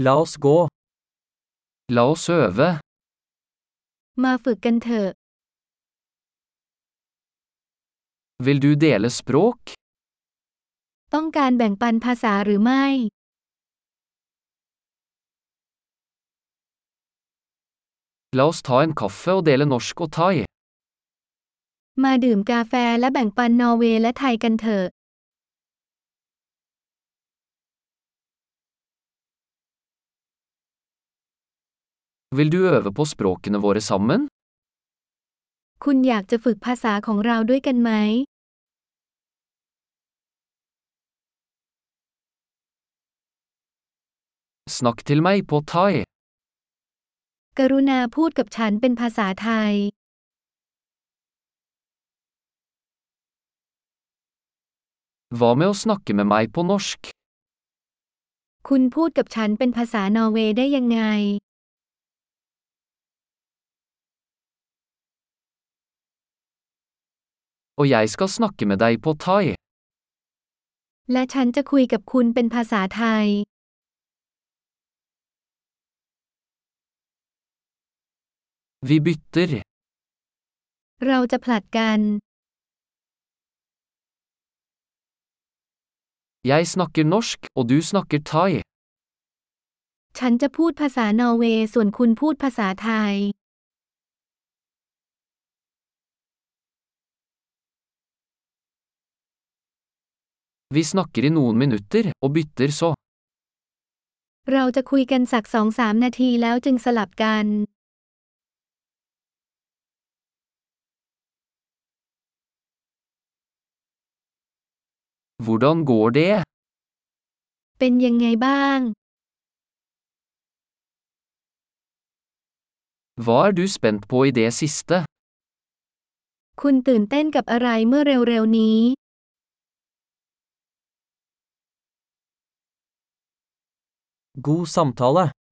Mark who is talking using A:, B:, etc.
A: La oss gå. La oss øve.
B: มาฝึกกันเถอะ
A: Vil du dele språk?
B: ต้องการแบ่งปันภาษาหรือไม่
A: La oss ta en kaffe og dele norsk og thai.
B: มาดื่มกาแฟและแบ่งปันนอร์เวย์และไทยกันเถอะ
A: Vil du øve på språkene våre sammen?
B: คุณอยากจะฝึกภาษาของเราด้วยกันไหม
A: Snakk til meg på thai.
B: กรุณาพูดกับฉันเป็นภาษาไทย
A: Hva med å snakke med meg på norsk?
B: คุณพูดกับฉันเป็นภาษานอร์เวย์ได้ยังไง
A: Og jeg skal snakke med deg på thai.
B: และฉันจะคุยกับคุณเป็นภาษาไทย
A: Vi bytter.
B: เราจะผลัดกัน
A: Jeg snakker norsk, og du snakker thai.
B: ฉันจะพูดภาษานอร์เวย์ส่วนคุณพูดภาษาไทย
A: Vi snakker i noen minutter, og bytter så.
B: เราจะคุยกันสักสองสามนาทีแล้วจึงสลับกัน
A: Hvordan går det?
B: เป็นยังไงบ้าง
A: Hva er du spent på i det siste?
B: คุณตื่นเต้นกับอะไรเมื่อเร็วๆนี้
A: God samtale.